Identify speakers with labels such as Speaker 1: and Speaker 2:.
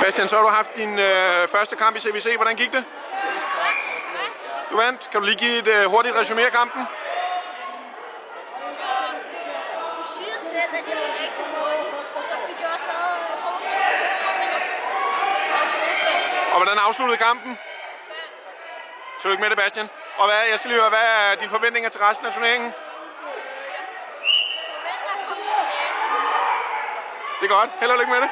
Speaker 1: Christian, så har du haft din øh, første kamp i CVC. Hvordan gik det? Du vandt. Kan du lige give et øh, hurtigt resume af kampen?
Speaker 2: Du siger selv, at det var rigtig godt, og så fik jeg også lavet jeg tror, to målinger og to fem.
Speaker 1: Og hvordan afsluttede kampen? Tillykke med det, Bastian. Og hvad, jeg skal lige høre, hvad er dine forventninger til resten af turneringen?
Speaker 2: Men der kom finalen.
Speaker 1: Det er godt. Held og lykke med det.